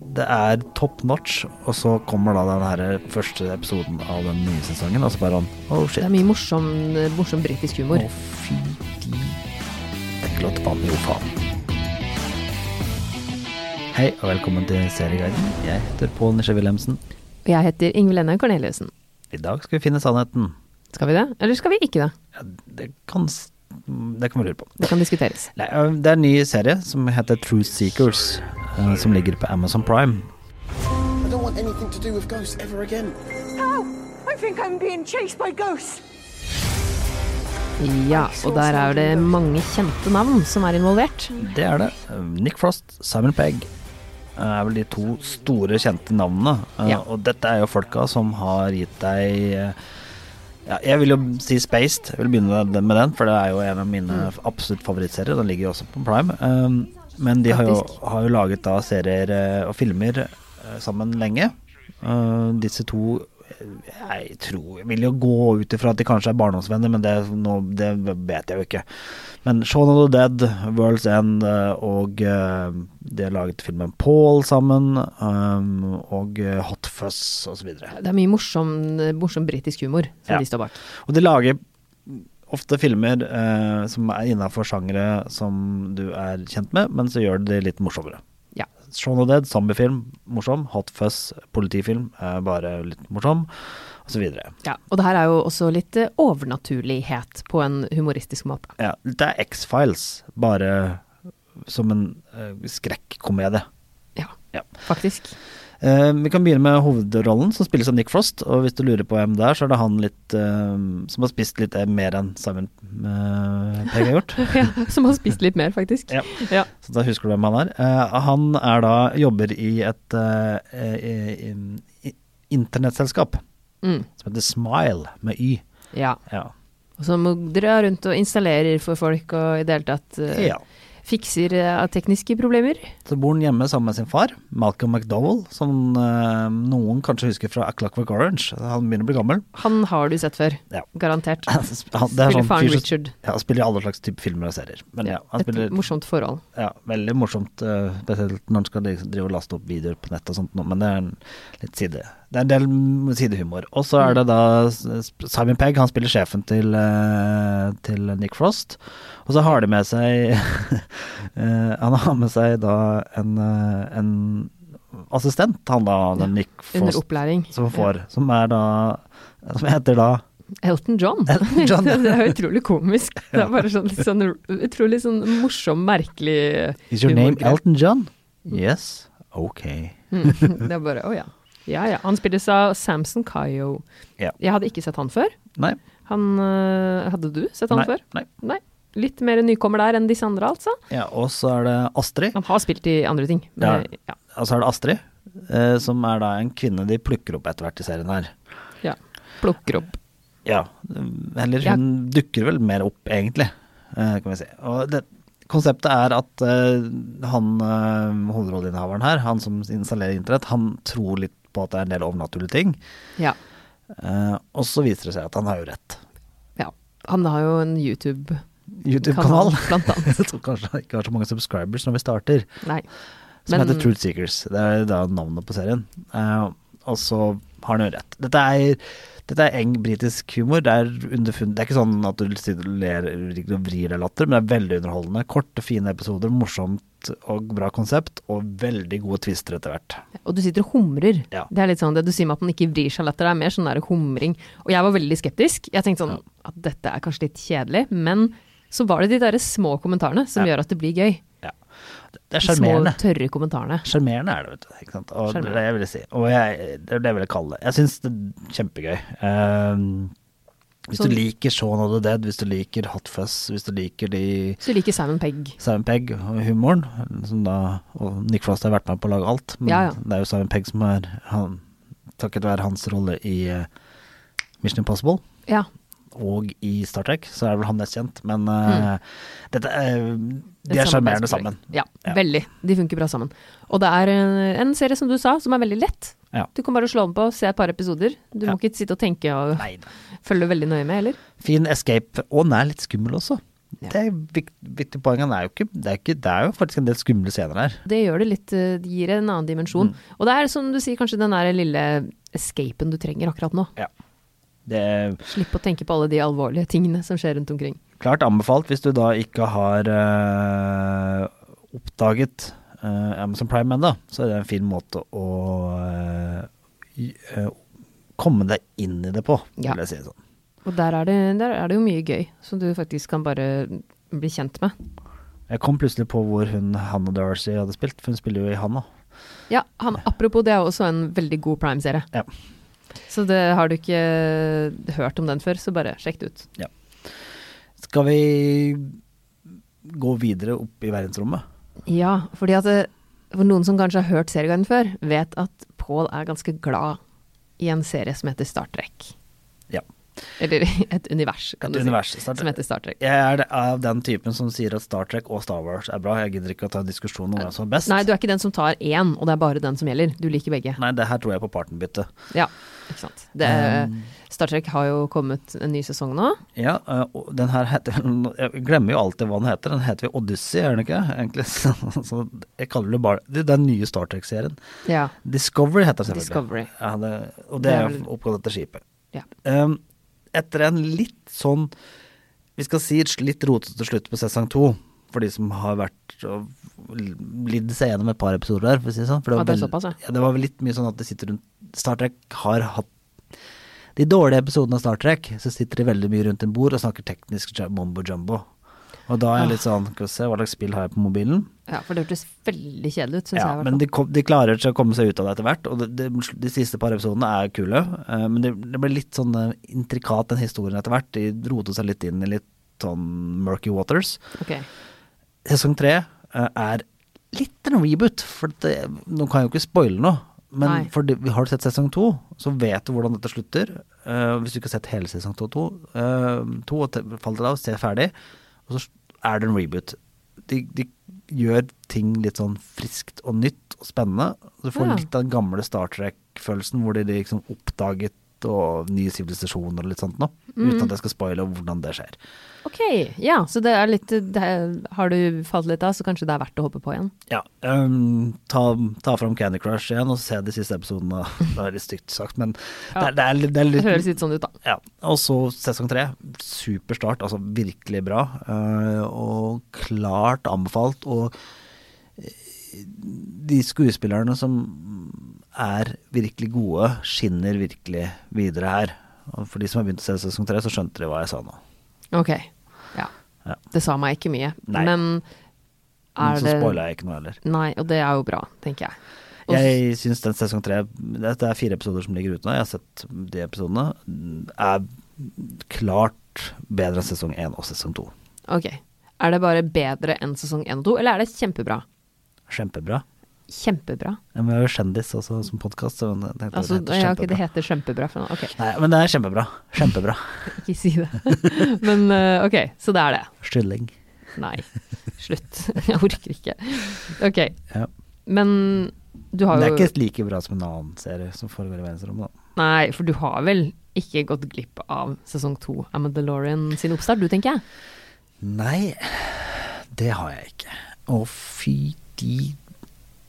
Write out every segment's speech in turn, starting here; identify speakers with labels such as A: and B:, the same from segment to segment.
A: det er top notch. Og så kommer da den her første episoden av den nye sesongen, og så bare sånn Oh
B: Det
A: shit.
B: er mye morsom, morsom britisk
A: Å,
B: humor.
A: fy de Ekkelott vann, jo faen. Hei, og velkommen til Serieguiden. Jeg heter Pål Nisje Wilhelmsen.
B: Og jeg heter Ingvild Enne Corneliussen.
A: I dag skal vi finne sannheten.
B: Skal vi det, eller skal vi ikke det?
A: Ja, det kan s- Det kan vi lure på.
B: Det kan diskuteres.
A: Nei, øh, det er en ny serie som heter Truth Seekers, øh, som ligger på Amazon Prime.
C: I don't want anything to do with ghosts ever again.
D: Help! I think I'm being chased by ghosts.
B: Ja, og der er det mange kjente navn som er involvert.
A: Det er det. Nick Frost, Simon Pegg eh, er vel de to store kjente navnene. Eh,
B: Ja.
A: Og dette er jo folka som har gitt deg eh, ja, Jeg vil jo si Spaced. Jeg vil begynne med den- med den, for det er jo en av mine absolutt favorittserier. Den ligger jo også på Prime. Eh, Men de har jo,
B: Faktisk.
A: har jo laget da serier eh, og filmer eh, sammen lenge. Eh, Disse to eh, jeg tror Jeg vil jo gå ut ifra at de kanskje er barndomsvenner, men det, nå, det vet jeg jo ikke. Men Shaun of the Dead, World's End eh, og eh, de har laget filmen Paul sammen, eh, og eh, Hot Fuzz osv.
B: Det er mye morsom, morsom britisk humor som
A: Ja.
B: de står bak.
A: Og de lager ofte filmer eh, som er innafor sjangere som du er kjent med, men så gjør de det litt morsommere.
B: Ja.
A: Shaun of the Dead, zombiefilm, morsom. Hot Fuzz, politifilm, eh, bare litt morsom, osv.
B: Ja, og det her er jo også litt eh, overnaturlighet på en humoristisk måte.
A: Ja, det er X-Files, bare som en eh, skrekkomedie.
B: Ja,
A: Ja.
B: faktisk.
A: Eh, vi kan begynne med hovedrollen, som spilles av Nick Frost. Og hvis du lurer på hvem det er, så er det han litt eh, som har spist litt eh, mer enn Simon eh, Pegg har gjort.
B: Ja, som har spist litt mer, faktisk.
A: Ja.
B: Ja.
A: Så da husker du hvem han er. Eh, han er da jobber i et eh, eh, i- i- internettselskap
B: Mm.
A: som heter Smile, med Y.
B: ja.
A: Ja.
B: Og som drar rundt og installerer for folk og i det hele tatt eh,
A: ja.
B: fikser eh, tekniske problemer.
A: Så bor han hjemme sammen med sin far, Malcolm McDowell, som eh, noen kanskje husker fra A Clockwork Orange. Han begynner å bli gammel.
B: Han har du sett før,
A: Ja.
B: garantert.
A: Han, det er
B: Spiller
A: sånn
B: faren
A: fyr som
B: Richard.
A: ja, spiller i alle slags type filmer og serier. Men ja, han
B: Et
A: spiller
B: morsomt forhold.
A: Ja, veldig morsomt, eh, spesielt når en skal liksom drive og laste opp videoer på nett og sånt, nå, men det er en litt side. Det er en del mm, sidehumor. Og så er det da s- s- Simon Pegg, han spiller sjefen til, eh, til Nick Frost. Og så har de med seg eh, Han har med seg da en, eh, en assistent, han da, den Nick
B: Under
A: Frost,
B: opplæring.
A: som han får, som er da Som heter da
B: Ja. Elton John.
A: Elton John.
B: det er jo utrolig komisk. Det er bare sånn, litt sånn utrolig sånn morsom, merkelig
A: Is your name
B: humorgrep.
A: Elton John? Yes. Ok.
B: Mm, det er bare, å ja. Ja, ja. Han spilles av Samson Kayo.
A: Ja.
B: Jeg hadde ikke sett han før.
A: Nei.
B: Han, øh, hadde du sett han
A: nei,
B: før?
A: Nei.
B: Nei. Litt mer nykommer der enn disse andre, altså.
A: Ja, og så er det Astrid.
B: Han har spilt i andre ting. Men, ja.
A: Og så er det Astrid, eh, som er da en kvinne de plukker opp etter hvert i serien her.
B: Ja, Plukker opp.
A: Ja, eller hun dukker vel mer opp, egentlig, eh, kan vi si. Og det, konseptet er at eh, han eh, hovedrolleinnehaveren her, han som installerer internett, han tror litt på at det er en del overnaturlige ting.
B: Ja.
A: Eh, og så viser det seg at han har jo rett.
B: ja. Han har jo en YouTube-kanal,
A: YouTube-kanal.
B: blant annet.
A: Jeg tror kanskje han ikke har så mange subscribers når vi starter.
B: Nei.
A: Som
B: Men-
A: heter Truth Seekers. Det er da navnet på serien. Eh, og så har han jo rett. Dette er, dette er eng britisk humor. Det er underfund... Det er ikke sånn at du sitter og ler og vrir deg latter, men det er veldig underholdende. Korte, fine episoder, morsomt og bra konsept, og veldig gode twister etter hvert.
B: Og du sitter og humrer.
A: Ja.
B: Det er litt sånn det du sier med at man ikke vrir seg latter, det er mer sånn der humring. Og jeg var veldig skeptisk. Jeg tenkte sånn at dette er kanskje litt kjedelig, men så var det de derre små kommentarene som
A: Ja.
B: gjør at det blir gøy.
A: Ja. Det er
B: De små,
A: sjarmerende.
B: tørre kommentarene.
A: Sjarmerende er det, vet du. Ikke sant? Og det er
B: Sjarmerende.
A: det jeg vil si. Og jeg, det er det jeg vil kalle det. Jeg syns det er kjempegøy. Ehm, hvis
B: Sånn-
A: du liker Shaun of the Dead, hvis du liker Hot Fuzz, hvis du liker de
B: Så du liker Simon Pegg.
A: Simon Pegg og humoren, som da Og Nick Frost har vært med på å lage alt, men
B: Ja, ja.
A: det er jo Simon Pegg som er han, Takket være hans rolle i eh, Mission Impossible
B: Ja.
A: og i Star Trek, så er vel han mest kjent, men
B: Hmm.
A: eh, dette er,
B: Et
A: De er sjarmerende
B: samarbeidsprosjekt.
A: sammen.
B: Ja,
A: Ja.
B: veldig. De funker bra sammen. Og det er eh, en serie, som du sa, som er veldig lett.
A: Ja.
B: Du kan bare slå den på, se et par episoder. Du
A: Ja.
B: må ikke sitte og tenke og
A: Nei da.
B: følge veldig nøye med, eller?
A: Fin escape. Og den er litt skummel også. Det er vik- viktig poeng. Han er jo ikke, det, er ikke, det er jo faktisk en del skumle scener her.
B: Det gjør det litt eh, Det gir en annen dimensjon. Og det er som du sier, kanskje den der lille escapen du trenger akkurat nå.
A: Ja. Det er
B: Slipp å tenke på alle de alvorlige tingene som skjer rundt omkring.
A: klart anbefalt hvis du da ikke har eh, oppdaget eh, Amazon Prime ennå, så er det en fin måte å eh, i- eh, komme deg inn i det på,
B: Ja.
A: vil jeg si det sånn.
B: Og der er, det, der er det jo mye gøy som du faktisk kan bare bli kjent med.
A: Jeg kom plutselig på hvor hun Hannah Darcy hadde spilt, for hun spiller jo i Hannah.
B: Ja, han, apropos, det er også en veldig god Prime-serie.
A: Ja.
B: Så det har du ikke eh, hørt om den før, så bare sjekk det ut.
A: Skal vi gå videre opp i verdensrommet?
B: Ja, fordi at eh, for noen som kanskje har hørt Serieguiden før, vet at Paul er ganske glad i en serie som heter Star Trek.
A: Ja.
B: Eller et univers, kan
A: Et
B: du
A: univers,
B: si.
A: Star Trek.
B: Som heter Star Trek.
A: Jeg er av den typen som sier at Star Trek og Star Wars er bra. Jeg gidder ikke å ta en diskusjon om hvem som er best.
B: Nei, du er ikke den som tar én, og det er bare den som gjelder. Du liker begge.
A: Nei, det her tror jeg på partnerbytte.
B: Ja, ikke sant. Det,
A: Um.
B: Star Trek har jo kommet en ny sesong nå.
A: Ja, eh, og den her heter Jeg glemmer jo alltid hva den heter. Den heter jo Odyssey, gjør den ikke? Egentlig. Så, så jeg kaller det bare det er Den nye Star Trek-serien.
B: Ja.
A: Discovery heter den selvfølgelig.
B: Discovery.
A: Ja, det, og det
B: Det er
A: er
B: vel-
A: oppkalt etter skipet.
B: ja.
A: Um, etter en litt sånn Vi skal si et litt rotete slutt på sesong to, for de som har vært og lidd seg gjennom et par episoder der, for å si det sånn. For
B: Ah, det er
A: veld-
B: såpass, ja.
A: ja, det var vel litt mye sånn at de sitter rundt Star Trek har hatt De dårlige episodene av Star Trek, så sitter de veldig mye rundt en bord og snakker teknisk jam- mumbo jumbo. Og da er jeg
B: Ah.
A: litt sånn Skal vi se, hva slags spill har jeg på mobilen?
B: ja, for det hørtes veldig kjedelig ut, syns jeg.
A: Ja,
B: i hvert
A: men
B: fall.
A: de, kom, de klarer seg å komme seg ut av det etter hvert, og det, det, de siste par episodene er kule. eh, men det, det ble litt sånn eh, intrikat, den historien etter hvert. De rotet seg litt inn i litt sånn murky waters.
B: Ok.
A: Sesong tre eh, er litt en reboot, for det, nå kan jeg jo ikke spoile noe.
B: Nei.
A: Men for det, har du sett sesong to, så vet du hvordan dette slutter. Eh, hvis du ikke har sett hele sesong to, to, eh, to og te- fall til deg og se ferdig, og så er det en reboot. De, de gjør ting litt sånn friskt og nytt og spennende. Du får
B: Ja.
A: litt av den gamle Star Trek-følelsen hvor de liksom oppdaget og nye sivilisasjoner og litt sånt nå.
B: Mm.
A: Uten at jeg skal spoile hvordan det skjer.
B: Ok, ja, så det er litt det, Har du falt litt av, så kanskje det er verdt å hoppe på igjen.
A: Ja. ehm, ta, ta fram Candy Crush igjen og se de siste episodene. Det er litt stygt sagt, men det, er, det, er, litt- det er
B: Det
A: litt
B: høres litt sånn ut, da.
A: ja. Og så sesong tre. Super start, altså virkelig bra. eh, og klart anbefalt. Og eh, de skuespillerne som er virkelig gode, skinner virkelig videre her. Og for de som har begynt å se sesong tre, så skjønte de hva jeg sa nå.
B: Ok, ja.
A: Ja.
B: Det sa meg ikke mye,
A: Nei.
B: men
A: Men
B: er
A: så
B: det
A: spoila jeg ikke noe heller.
B: Nei, og det er jo bra, tenker jeg. Og
A: Jeg syns den sesong tre Det det er fire episoder som ligger ute nå. Jeg har sett de episodene. Er klart bedre enn sesong én og sesong to.
B: Ok. Er det bare bedre enn sesong 1 og 2, eller er det kjempebra?
A: Kjempebra.
B: Kjempebra.
A: Men vi er jo kjendis også som podkast.
B: Altså, ja, ok, det heter kjempebra. for noe. Ok,
A: Nei, men det er kjempebra. Kjempebra.
B: ikke si det. Men eh, ok, så det er det.
A: Skylling.
B: Nei, slutt. Jeg orker ikke. Ok,
A: Ja.
B: men du har
A: Men
B: jo
A: det er ikke like bra som en annen serie som foregår i verdensrommet, da.
B: Nei, for du har vel ikke gått glipp av sesong to av Mandalorian sin oppstart, du, tenker jeg.
A: Nei, det har jeg ikke. Å, fy de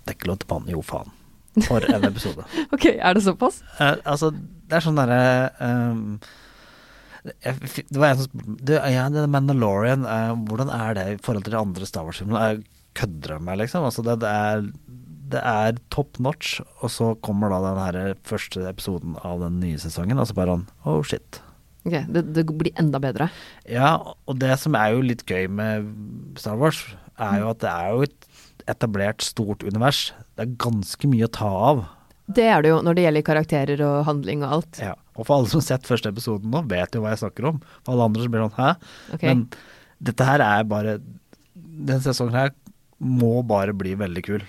A: Det er ikke lov til å banne, jo faen. For en episode.
B: Ok, er det såpass?
A: Eh, altså, det er sånn derre ehm, jeg f- Det var en som spurte Du, ja, det er Mandalorian, eh, hvordan er det i forhold til de andre Star Wars-filmene? Jeg Kødder de meg, liksom? Altså, det, det, er, det er top notch, og så kommer da den her første episoden av den nye sesongen, og så bare sånn Oh shit.
B: Ok, det, det blir enda bedre.
A: Ja, og det som er jo litt gøy med Star Wars, er jo at det er jo et etablert stort univers. Det er ganske mye å ta av.
B: Det er det jo når det gjelder karakterer og handling og alt.
A: Ja, og for alle som har sett første episoden nå, vet jo hva jeg snakker om. For alle andre så blir det sånn hæ?
B: Ok.
A: Men dette her er bare Den sesongen her må bare bli veldig kul.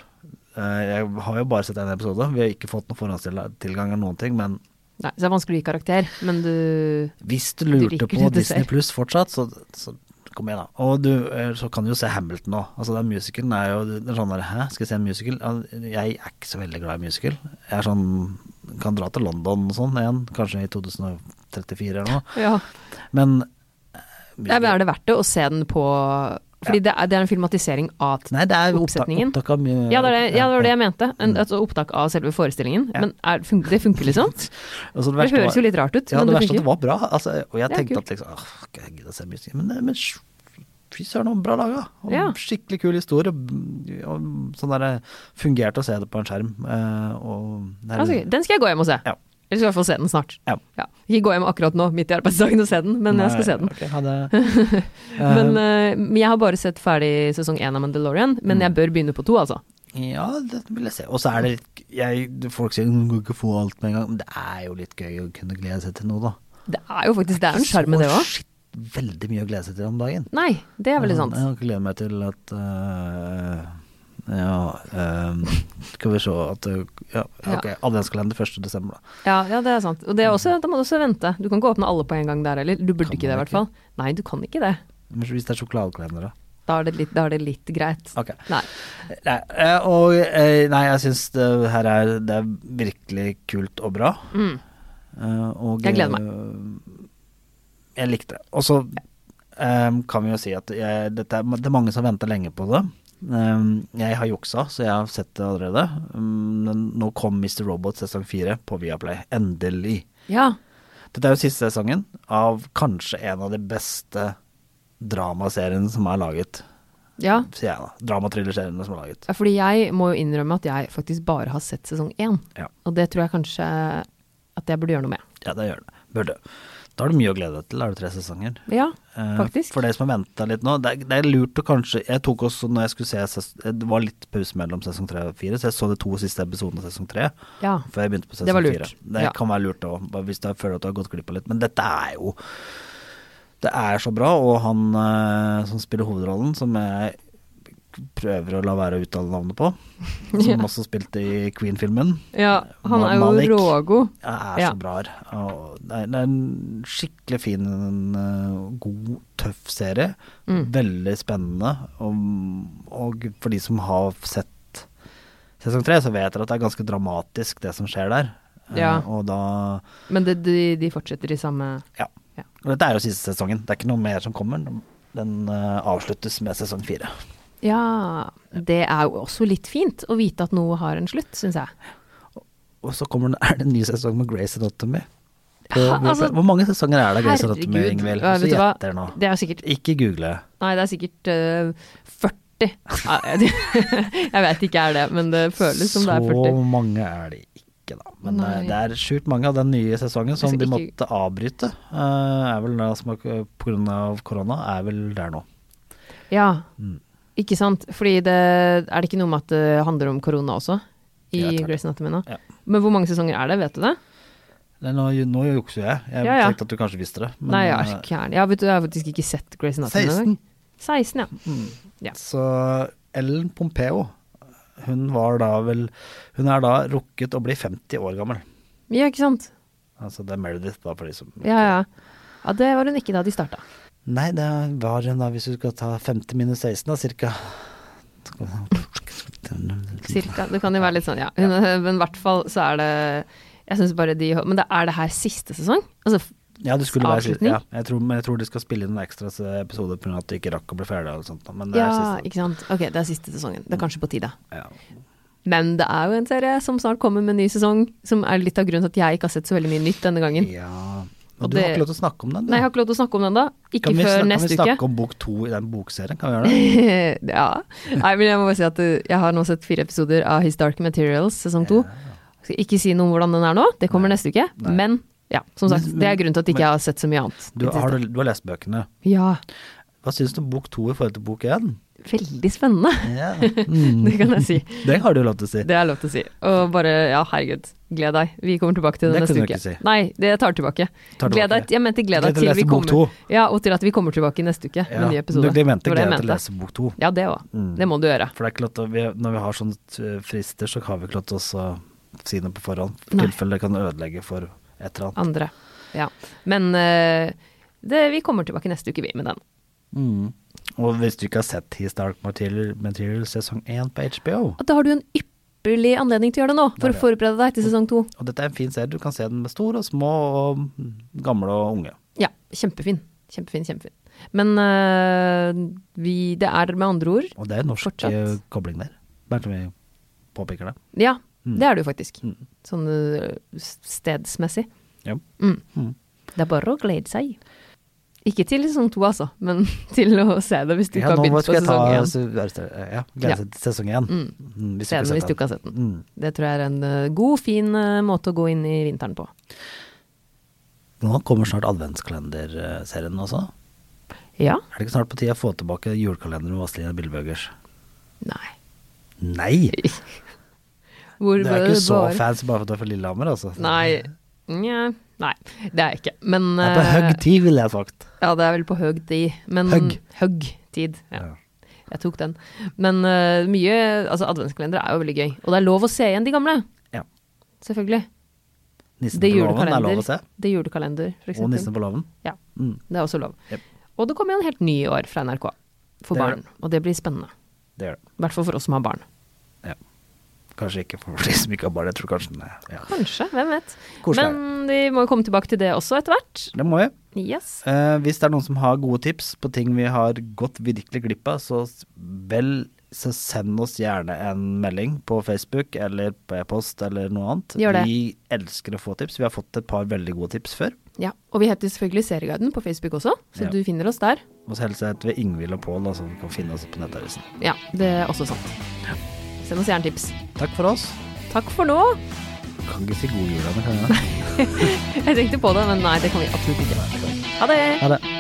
A: Eh, Jeg har jo bare sett én episode. Vi har ikke fått noen forhåndstilgang eller noen ting, men
B: Nei, så det er vanskelig å gi karakter, men du
A: hvis du
B: Du
A: lurte
B: liker
A: på
B: det du
A: Disney
B: ser.
A: Pluss fortsatt, så, så kom igjen, da. Og du, eh, så kan du jo se Hamilton òg. Altså, den musicalen er jo det er sånn der Hæ, skal jeg se en musical? Ja, Jeg er ikke så veldig glad i musical. Jeg er sånn Kan dra til London og sånn igjen, kanskje i 2034 eller noe.
B: Ja.
A: Men eh,
B: Ja, men er det verdt det å se den på Fordi det, er, det er en filmatisering av
A: eh, Nei, det er opptak,
B: oppsetningen.
A: opptak av mye
B: Ja, det var det, ja, det, var det jeg mente. En, altså opptak av selve forestillingen.
A: Eh, Mm. Ja.
B: Men er, fun det funker liksom?
A: Og så det
B: Det
A: verste
B: høres
A: var-
B: jo litt rart ut,
A: Ja,
B: men
A: det
B: det
A: verste at det
B: funker.
A: var bra. Altså, og jeg
B: Det er
A: tenkte
B: kult.
A: at liksom åh, skal jeg gidde å se mye musikk? Men, men sj- fy søren, det var bra laga. Og
B: Ja.
A: Skikkelig kul historie. Og sånn der, fungerte å se det på en skjerm. eh, Og det er-
B: Altså, den skal jeg gå hjem og se.
A: Ja.
B: Eller skal i hvert fall se den snart.
A: Ja.
B: Ikke gå hjem akkurat nå, midt i arbeidsdagen og se den, men jeg skal se den.
A: Nei, ok, ha det.
B: Men eh, men jeg har bare sett ferdig sesong én av Mandalorian,
A: Mm.
B: men jeg bør begynne på to, altså.
A: Ja, det vil jeg se. Og så er det litt jeg, Folk sier du kan ikke få alt med en gang, men det er jo litt gøy å kunne glede seg til noe, da.
B: Det er jo faktisk det er en sjarm med det òg.
A: Så Veldig mye å glede seg til om dagen.
B: Nei, det er veldig sant.
A: Jeg gleder meg til at øh, Ja øh, Skal vi se at øh, Ja, ok. Adventskalender 1. desember, da.
B: Ja, ja, det er sant. Og det er også, da må du også vente. Du kan ikke åpne alle på en gang der heller. Du burde
A: Kan
B: ikke det, i
A: man
B: hvert fall. Nei, du kan ikke det.
A: Men Hvis det er sjokoladekalender, da.
B: Da er det litt, da er det litt greit.
A: Ok.
B: Nei.
A: Nei, øh, og øh, Nei, jeg syns det her er Det er virkelig kult og bra.
B: Mm.
A: Eh, og,
B: Jeg gleder meg.
A: eh, jeg likte det. Og så eh, kan vi jo si at jeg, dette er, det er mange som venter lenge på det. Eh, jeg har juksa, så jeg har sett det allerede. Mm, men nå kom Mr. Robot sesong fire på Viaplay. Endelig.
B: Ja.
A: Dette er jo siste sesongen av kanskje en av de beste dramaseriene som er laget.
B: ja.
A: Sier jeg da. Dramatrillerseriene som er laget.
B: Ja, Fordi jeg må jo innrømme at jeg faktisk bare har sett sesong én.
A: Ja.
B: Og det tror jeg kanskje at jeg burde gjøre noe med.
A: Ja, det gjør det. Burde. Da har du mye å glede deg til. Da har du tre sesonger.
B: Ja,
A: Eh,
B: faktisk.
A: For dere som har venta litt nå, det er, det er lurt å kanskje Jeg tok også når jeg skulle se ses- Det var litt pause mellom sesong tre og fire, så jeg så de to siste episodene av sesong tre
B: Ja.
A: før jeg begynte på
B: Det var
A: sesong
B: lurt.
A: fire. Det
B: Ja.
A: kan være lurt òg, hvis du føler at du har gått glipp av litt. Men dette er jo Det er så bra, og han eh, som spiller hovedrollen, som jeg prøver å la være å uttale navnet på, som
B: Ja.
A: også spilte i Queen-filmen,
B: ja han er jo
A: Malik.
B: rågod.
A: ja, er
B: Ja.
A: så bra her. Og Det er, det er en skikkelig fin, eh, god, tøff serie.
B: Mm.
A: Veldig spennende. Og, og for de som har sett sesong tre, så vet dere at det er ganske dramatisk det som skjer der. Eh,
B: Ja.
A: Og da
B: Men det, de, de fortsetter i samme
A: Ja.
B: Ja.
A: Og dette er jo siste sesongen. Det er ikke noe mer som kommer. Den eh, avsluttes med sesong fire.
B: Ja. Det er jo også litt fint å vite at noe har en slutt, syns jeg.
A: Og så kommer, den- er det en ny sesong med Grace Anatomy. På,
B: Ja, altså,
A: Hvor mange sesonger er det av Grace Anatomy,
B: Herregud.
A: Ingvild?
B: Ja,
A: Så
B: vet du hva?
A: gjetter nå.
B: Det er jo sikkert
A: Ikke google.
B: Nei, det er sikkert øh, 40. Ja, jeg jeg vet ikke er det, men det føles som det er 40.
A: Så mange er det ikke, da. Men
B: Nei.
A: eh, det er sjukt mange av den nye sesongen som
B: Altså,
A: de
B: ikke-
A: måtte avbryte. eh, er vel det som er pga. korona, er vel der nå.
B: Ja,
A: Mm.
B: ikke sant? Fordi det er det ikke noe med at det handler om korona også? I
A: Ja, jeg tror det.
B: Grey's Anatomy nå?
A: Ja.
B: Men hvor mange sesonger er det, vet du det?
A: Nei, nå, nå jukser jeg. Jeg
B: Ja, ja.
A: tenkte at du kanskje visste det. men,
B: Nei, jeg
A: eh,
B: er gæren. Jeg, vet, du, jeg har faktisk ikke sett Grey's Anatomy
A: 16.
B: engang. 16, ja.
A: Mm.
B: Ja.
A: Så Ellen Pompeo, hun var da vel Hun er da rukket å bli 50 år gammel.
B: Ja, ikke sant?
A: Altså det er Meredith, da, for de som
B: Ja, ja. Ja, det var hun ikke da de starta.
A: Nei, det var hun da, hvis du skal ta 50 minus 16, da, cirka.
B: Cirka. Det kan jo være litt sånn, ja. Hun, Men i hvert fall så er det Jeg syns bare de Men det, er det her siste sesong? Altså,
A: Ja, det skulle være siste.
B: Avslutning?
A: Ja, jeg tror, men jeg tror de skal spille inn en ekstra episode pga. at de ikke rakk å bli ferdig. Eller sånt, da, men det
B: ja,
A: er siste.
B: ikke sant. Ok, det er siste sesongen. Det er kanskje på tide.
A: Ja.
B: Men det er jo en serie som snart kommer med en ny sesong, som er litt av grunnen til at jeg ikke har sett så veldig mye nytt denne gangen.
A: ja. Og,
B: Og
A: du har
B: det-
A: ikke lov til å snakke om den, du.
B: Nei, jeg har ikke lov til å snakke om den da. Ikke
A: kan vi,
B: før
A: snakke, kan
B: neste
A: vi snakke
B: uke.
A: om bok to i den bokserien? Kan vi gjøre det?
B: ja. Nei, men jeg må bare si at uh, jeg har nå sett fire episoder av His Dark Materials sesong to. Skal ikke si noe om hvordan den er nå, det kommer neste uke.
A: Nei.
B: Men ja, som sagt,
A: Men-
B: det er grunnen til at ikke
A: men-
B: jeg har sett så mye annet.
A: Du har, du, du har lest bøkene.
B: Ja,
A: Hva syns du om bok to i forhold til bok én?
B: veldig spennende,
A: Ja.
B: det kan jeg si.
A: Det har du lov til å si.
B: Det er lov til å si. Og bare, ja, herregud, gled deg. Vi kommer tilbake til det,
A: Det
B: neste
A: kunne
B: uke.
A: du ikke si.
B: Nei, det tar tilbake.
A: Tar tilbake.
B: Gled deg, jeg mente gled deg
A: Gled deg til
B: til
A: å
B: vi
A: lese bok
B: kommer.
A: to.
B: Ja, og til at vi kommer tilbake neste uke med
A: Ja.
B: en ny episode.
A: Du glemte
B: Det var det jeg
A: gleden til å
B: mente.
A: lese bok Mm. to.
B: Ja, det òg. Det må du gjøre.
A: For det er ikke lov til, å- vi, når vi har sånne eh, frister, så har vi ikke lov til å også si noe på forhånd. I
B: Nei.
A: tilfelle det kan ødelegge for et eller annet.
B: Andre. Ja. Men eh, det, vi kommer tilbake neste uke, vi, med den.
A: Mm. Og hvis du ikke har sett His Dark Material, Material sesong 1 på HBO,
B: Og da har du en ypperlig anledning til å gjøre det nå, for
A: Det er
B: å forberede deg
A: Mm.
B: til sesong to.
A: og dette er en fin serie, du kan se den med store og små og mm, gamle og unge.
B: Ja, kjempefin. Kjempefin, kjempefin. Men eh, vi, det er med andre ord
A: Og det er norsk
B: Fortsatt.
A: eh, kobling der, bare så vi påpeker det.
B: Ja,
A: Mm.
B: det er det jo faktisk.
A: Mm.
B: Sånn eh, stedsmessig.
A: Ja.
B: Mm.
A: Mm.
B: Det er bare å glede seg. Ikke til sesong to, altså, men til å se det hvis du
A: Ja,
B: ikke har
A: nå
B: begynt
A: skal
B: på
A: jeg ta
B: sesong én.
A: så- er det- Ja, glede seg til sesong én.
B: Mm.
A: Mm, hvis du
B: Se
A: ikke har
B: den hvis
A: sett
B: du ikke har sett den.
A: Mm.
B: Det tror jeg er en eh, god, fin eh, måte å gå inn i vinteren på.
A: Nå kommer snart adventskalenderserien også.
B: Ja?
A: Er det ikke snart på tide å få tilbake julekalenderen med Vazelina Billebøgers?
B: Nei.
A: Nei!
B: Hvor
A: Du er ikke så
B: bare-
A: fancy bare for at du er fra Lillehammer, altså.
B: Nei. Nja. Nei, det er jeg ikke. Men
A: Det er på
B: eh,
A: høy tid, ville jeg sagt.
B: Ja, det er vel på høg tid. Men,
A: Høgg.
B: høgg tid. Ja.
A: Ja.
B: Jeg tok den. Men eh, mye Altså, adventskalender er jo veldig gøy. Og det er lov å se igjen de gamle.
A: Ja.
B: Selvfølgelig.
A: Nissen
B: Det
A: på
B: er
A: låven er lov å
B: julekalender.
A: se.
B: Det er julekalender, for
A: Og
B: eksempel.
A: nissen på låven.
B: Ja.
A: Mm.
B: Det er også lov.
A: Jep.
B: Og det kommer jo en helt ny i år fra NRK for
A: Det gjør
B: barn. Og det blir spennende.
A: Det gjør det.
B: I hvert fall for oss som har barn.
A: Kanskje ikke for de som ikke har barn. Jeg tror kanskje den er ja.
B: Kanskje, hvem vet.
A: Koselig.
B: Men vi må jo komme tilbake til det også etter hvert.
A: Det må vi.
B: Yes.
A: Eh, hvis det er noen som har gode tips på ting vi har gått virkelig glipp av, så s- vel så send oss gjerne en melding på Facebook eller på e-post eller noe annet.
B: Gjør det.
A: Vi elsker å få tips. Vi har fått et par veldig gode tips før.
B: Ja, og vi heter selvfølgelig Serieguiden på Facebook også, så
A: Ja.
B: du finner oss der.
A: Og så hilser jeg til Ingvild og Pål, da, så de kan finne oss på nettavisen.
B: Ja, det er også sant. Send oss gjerne tips.
A: Takk for oss.
B: Takk for nå.
A: Kan ikke si god jul, Anne. kan jeg?
B: Jeg tenkte på det, men nei, det kan vi absolutt ikke. Ha det.
A: Ha det.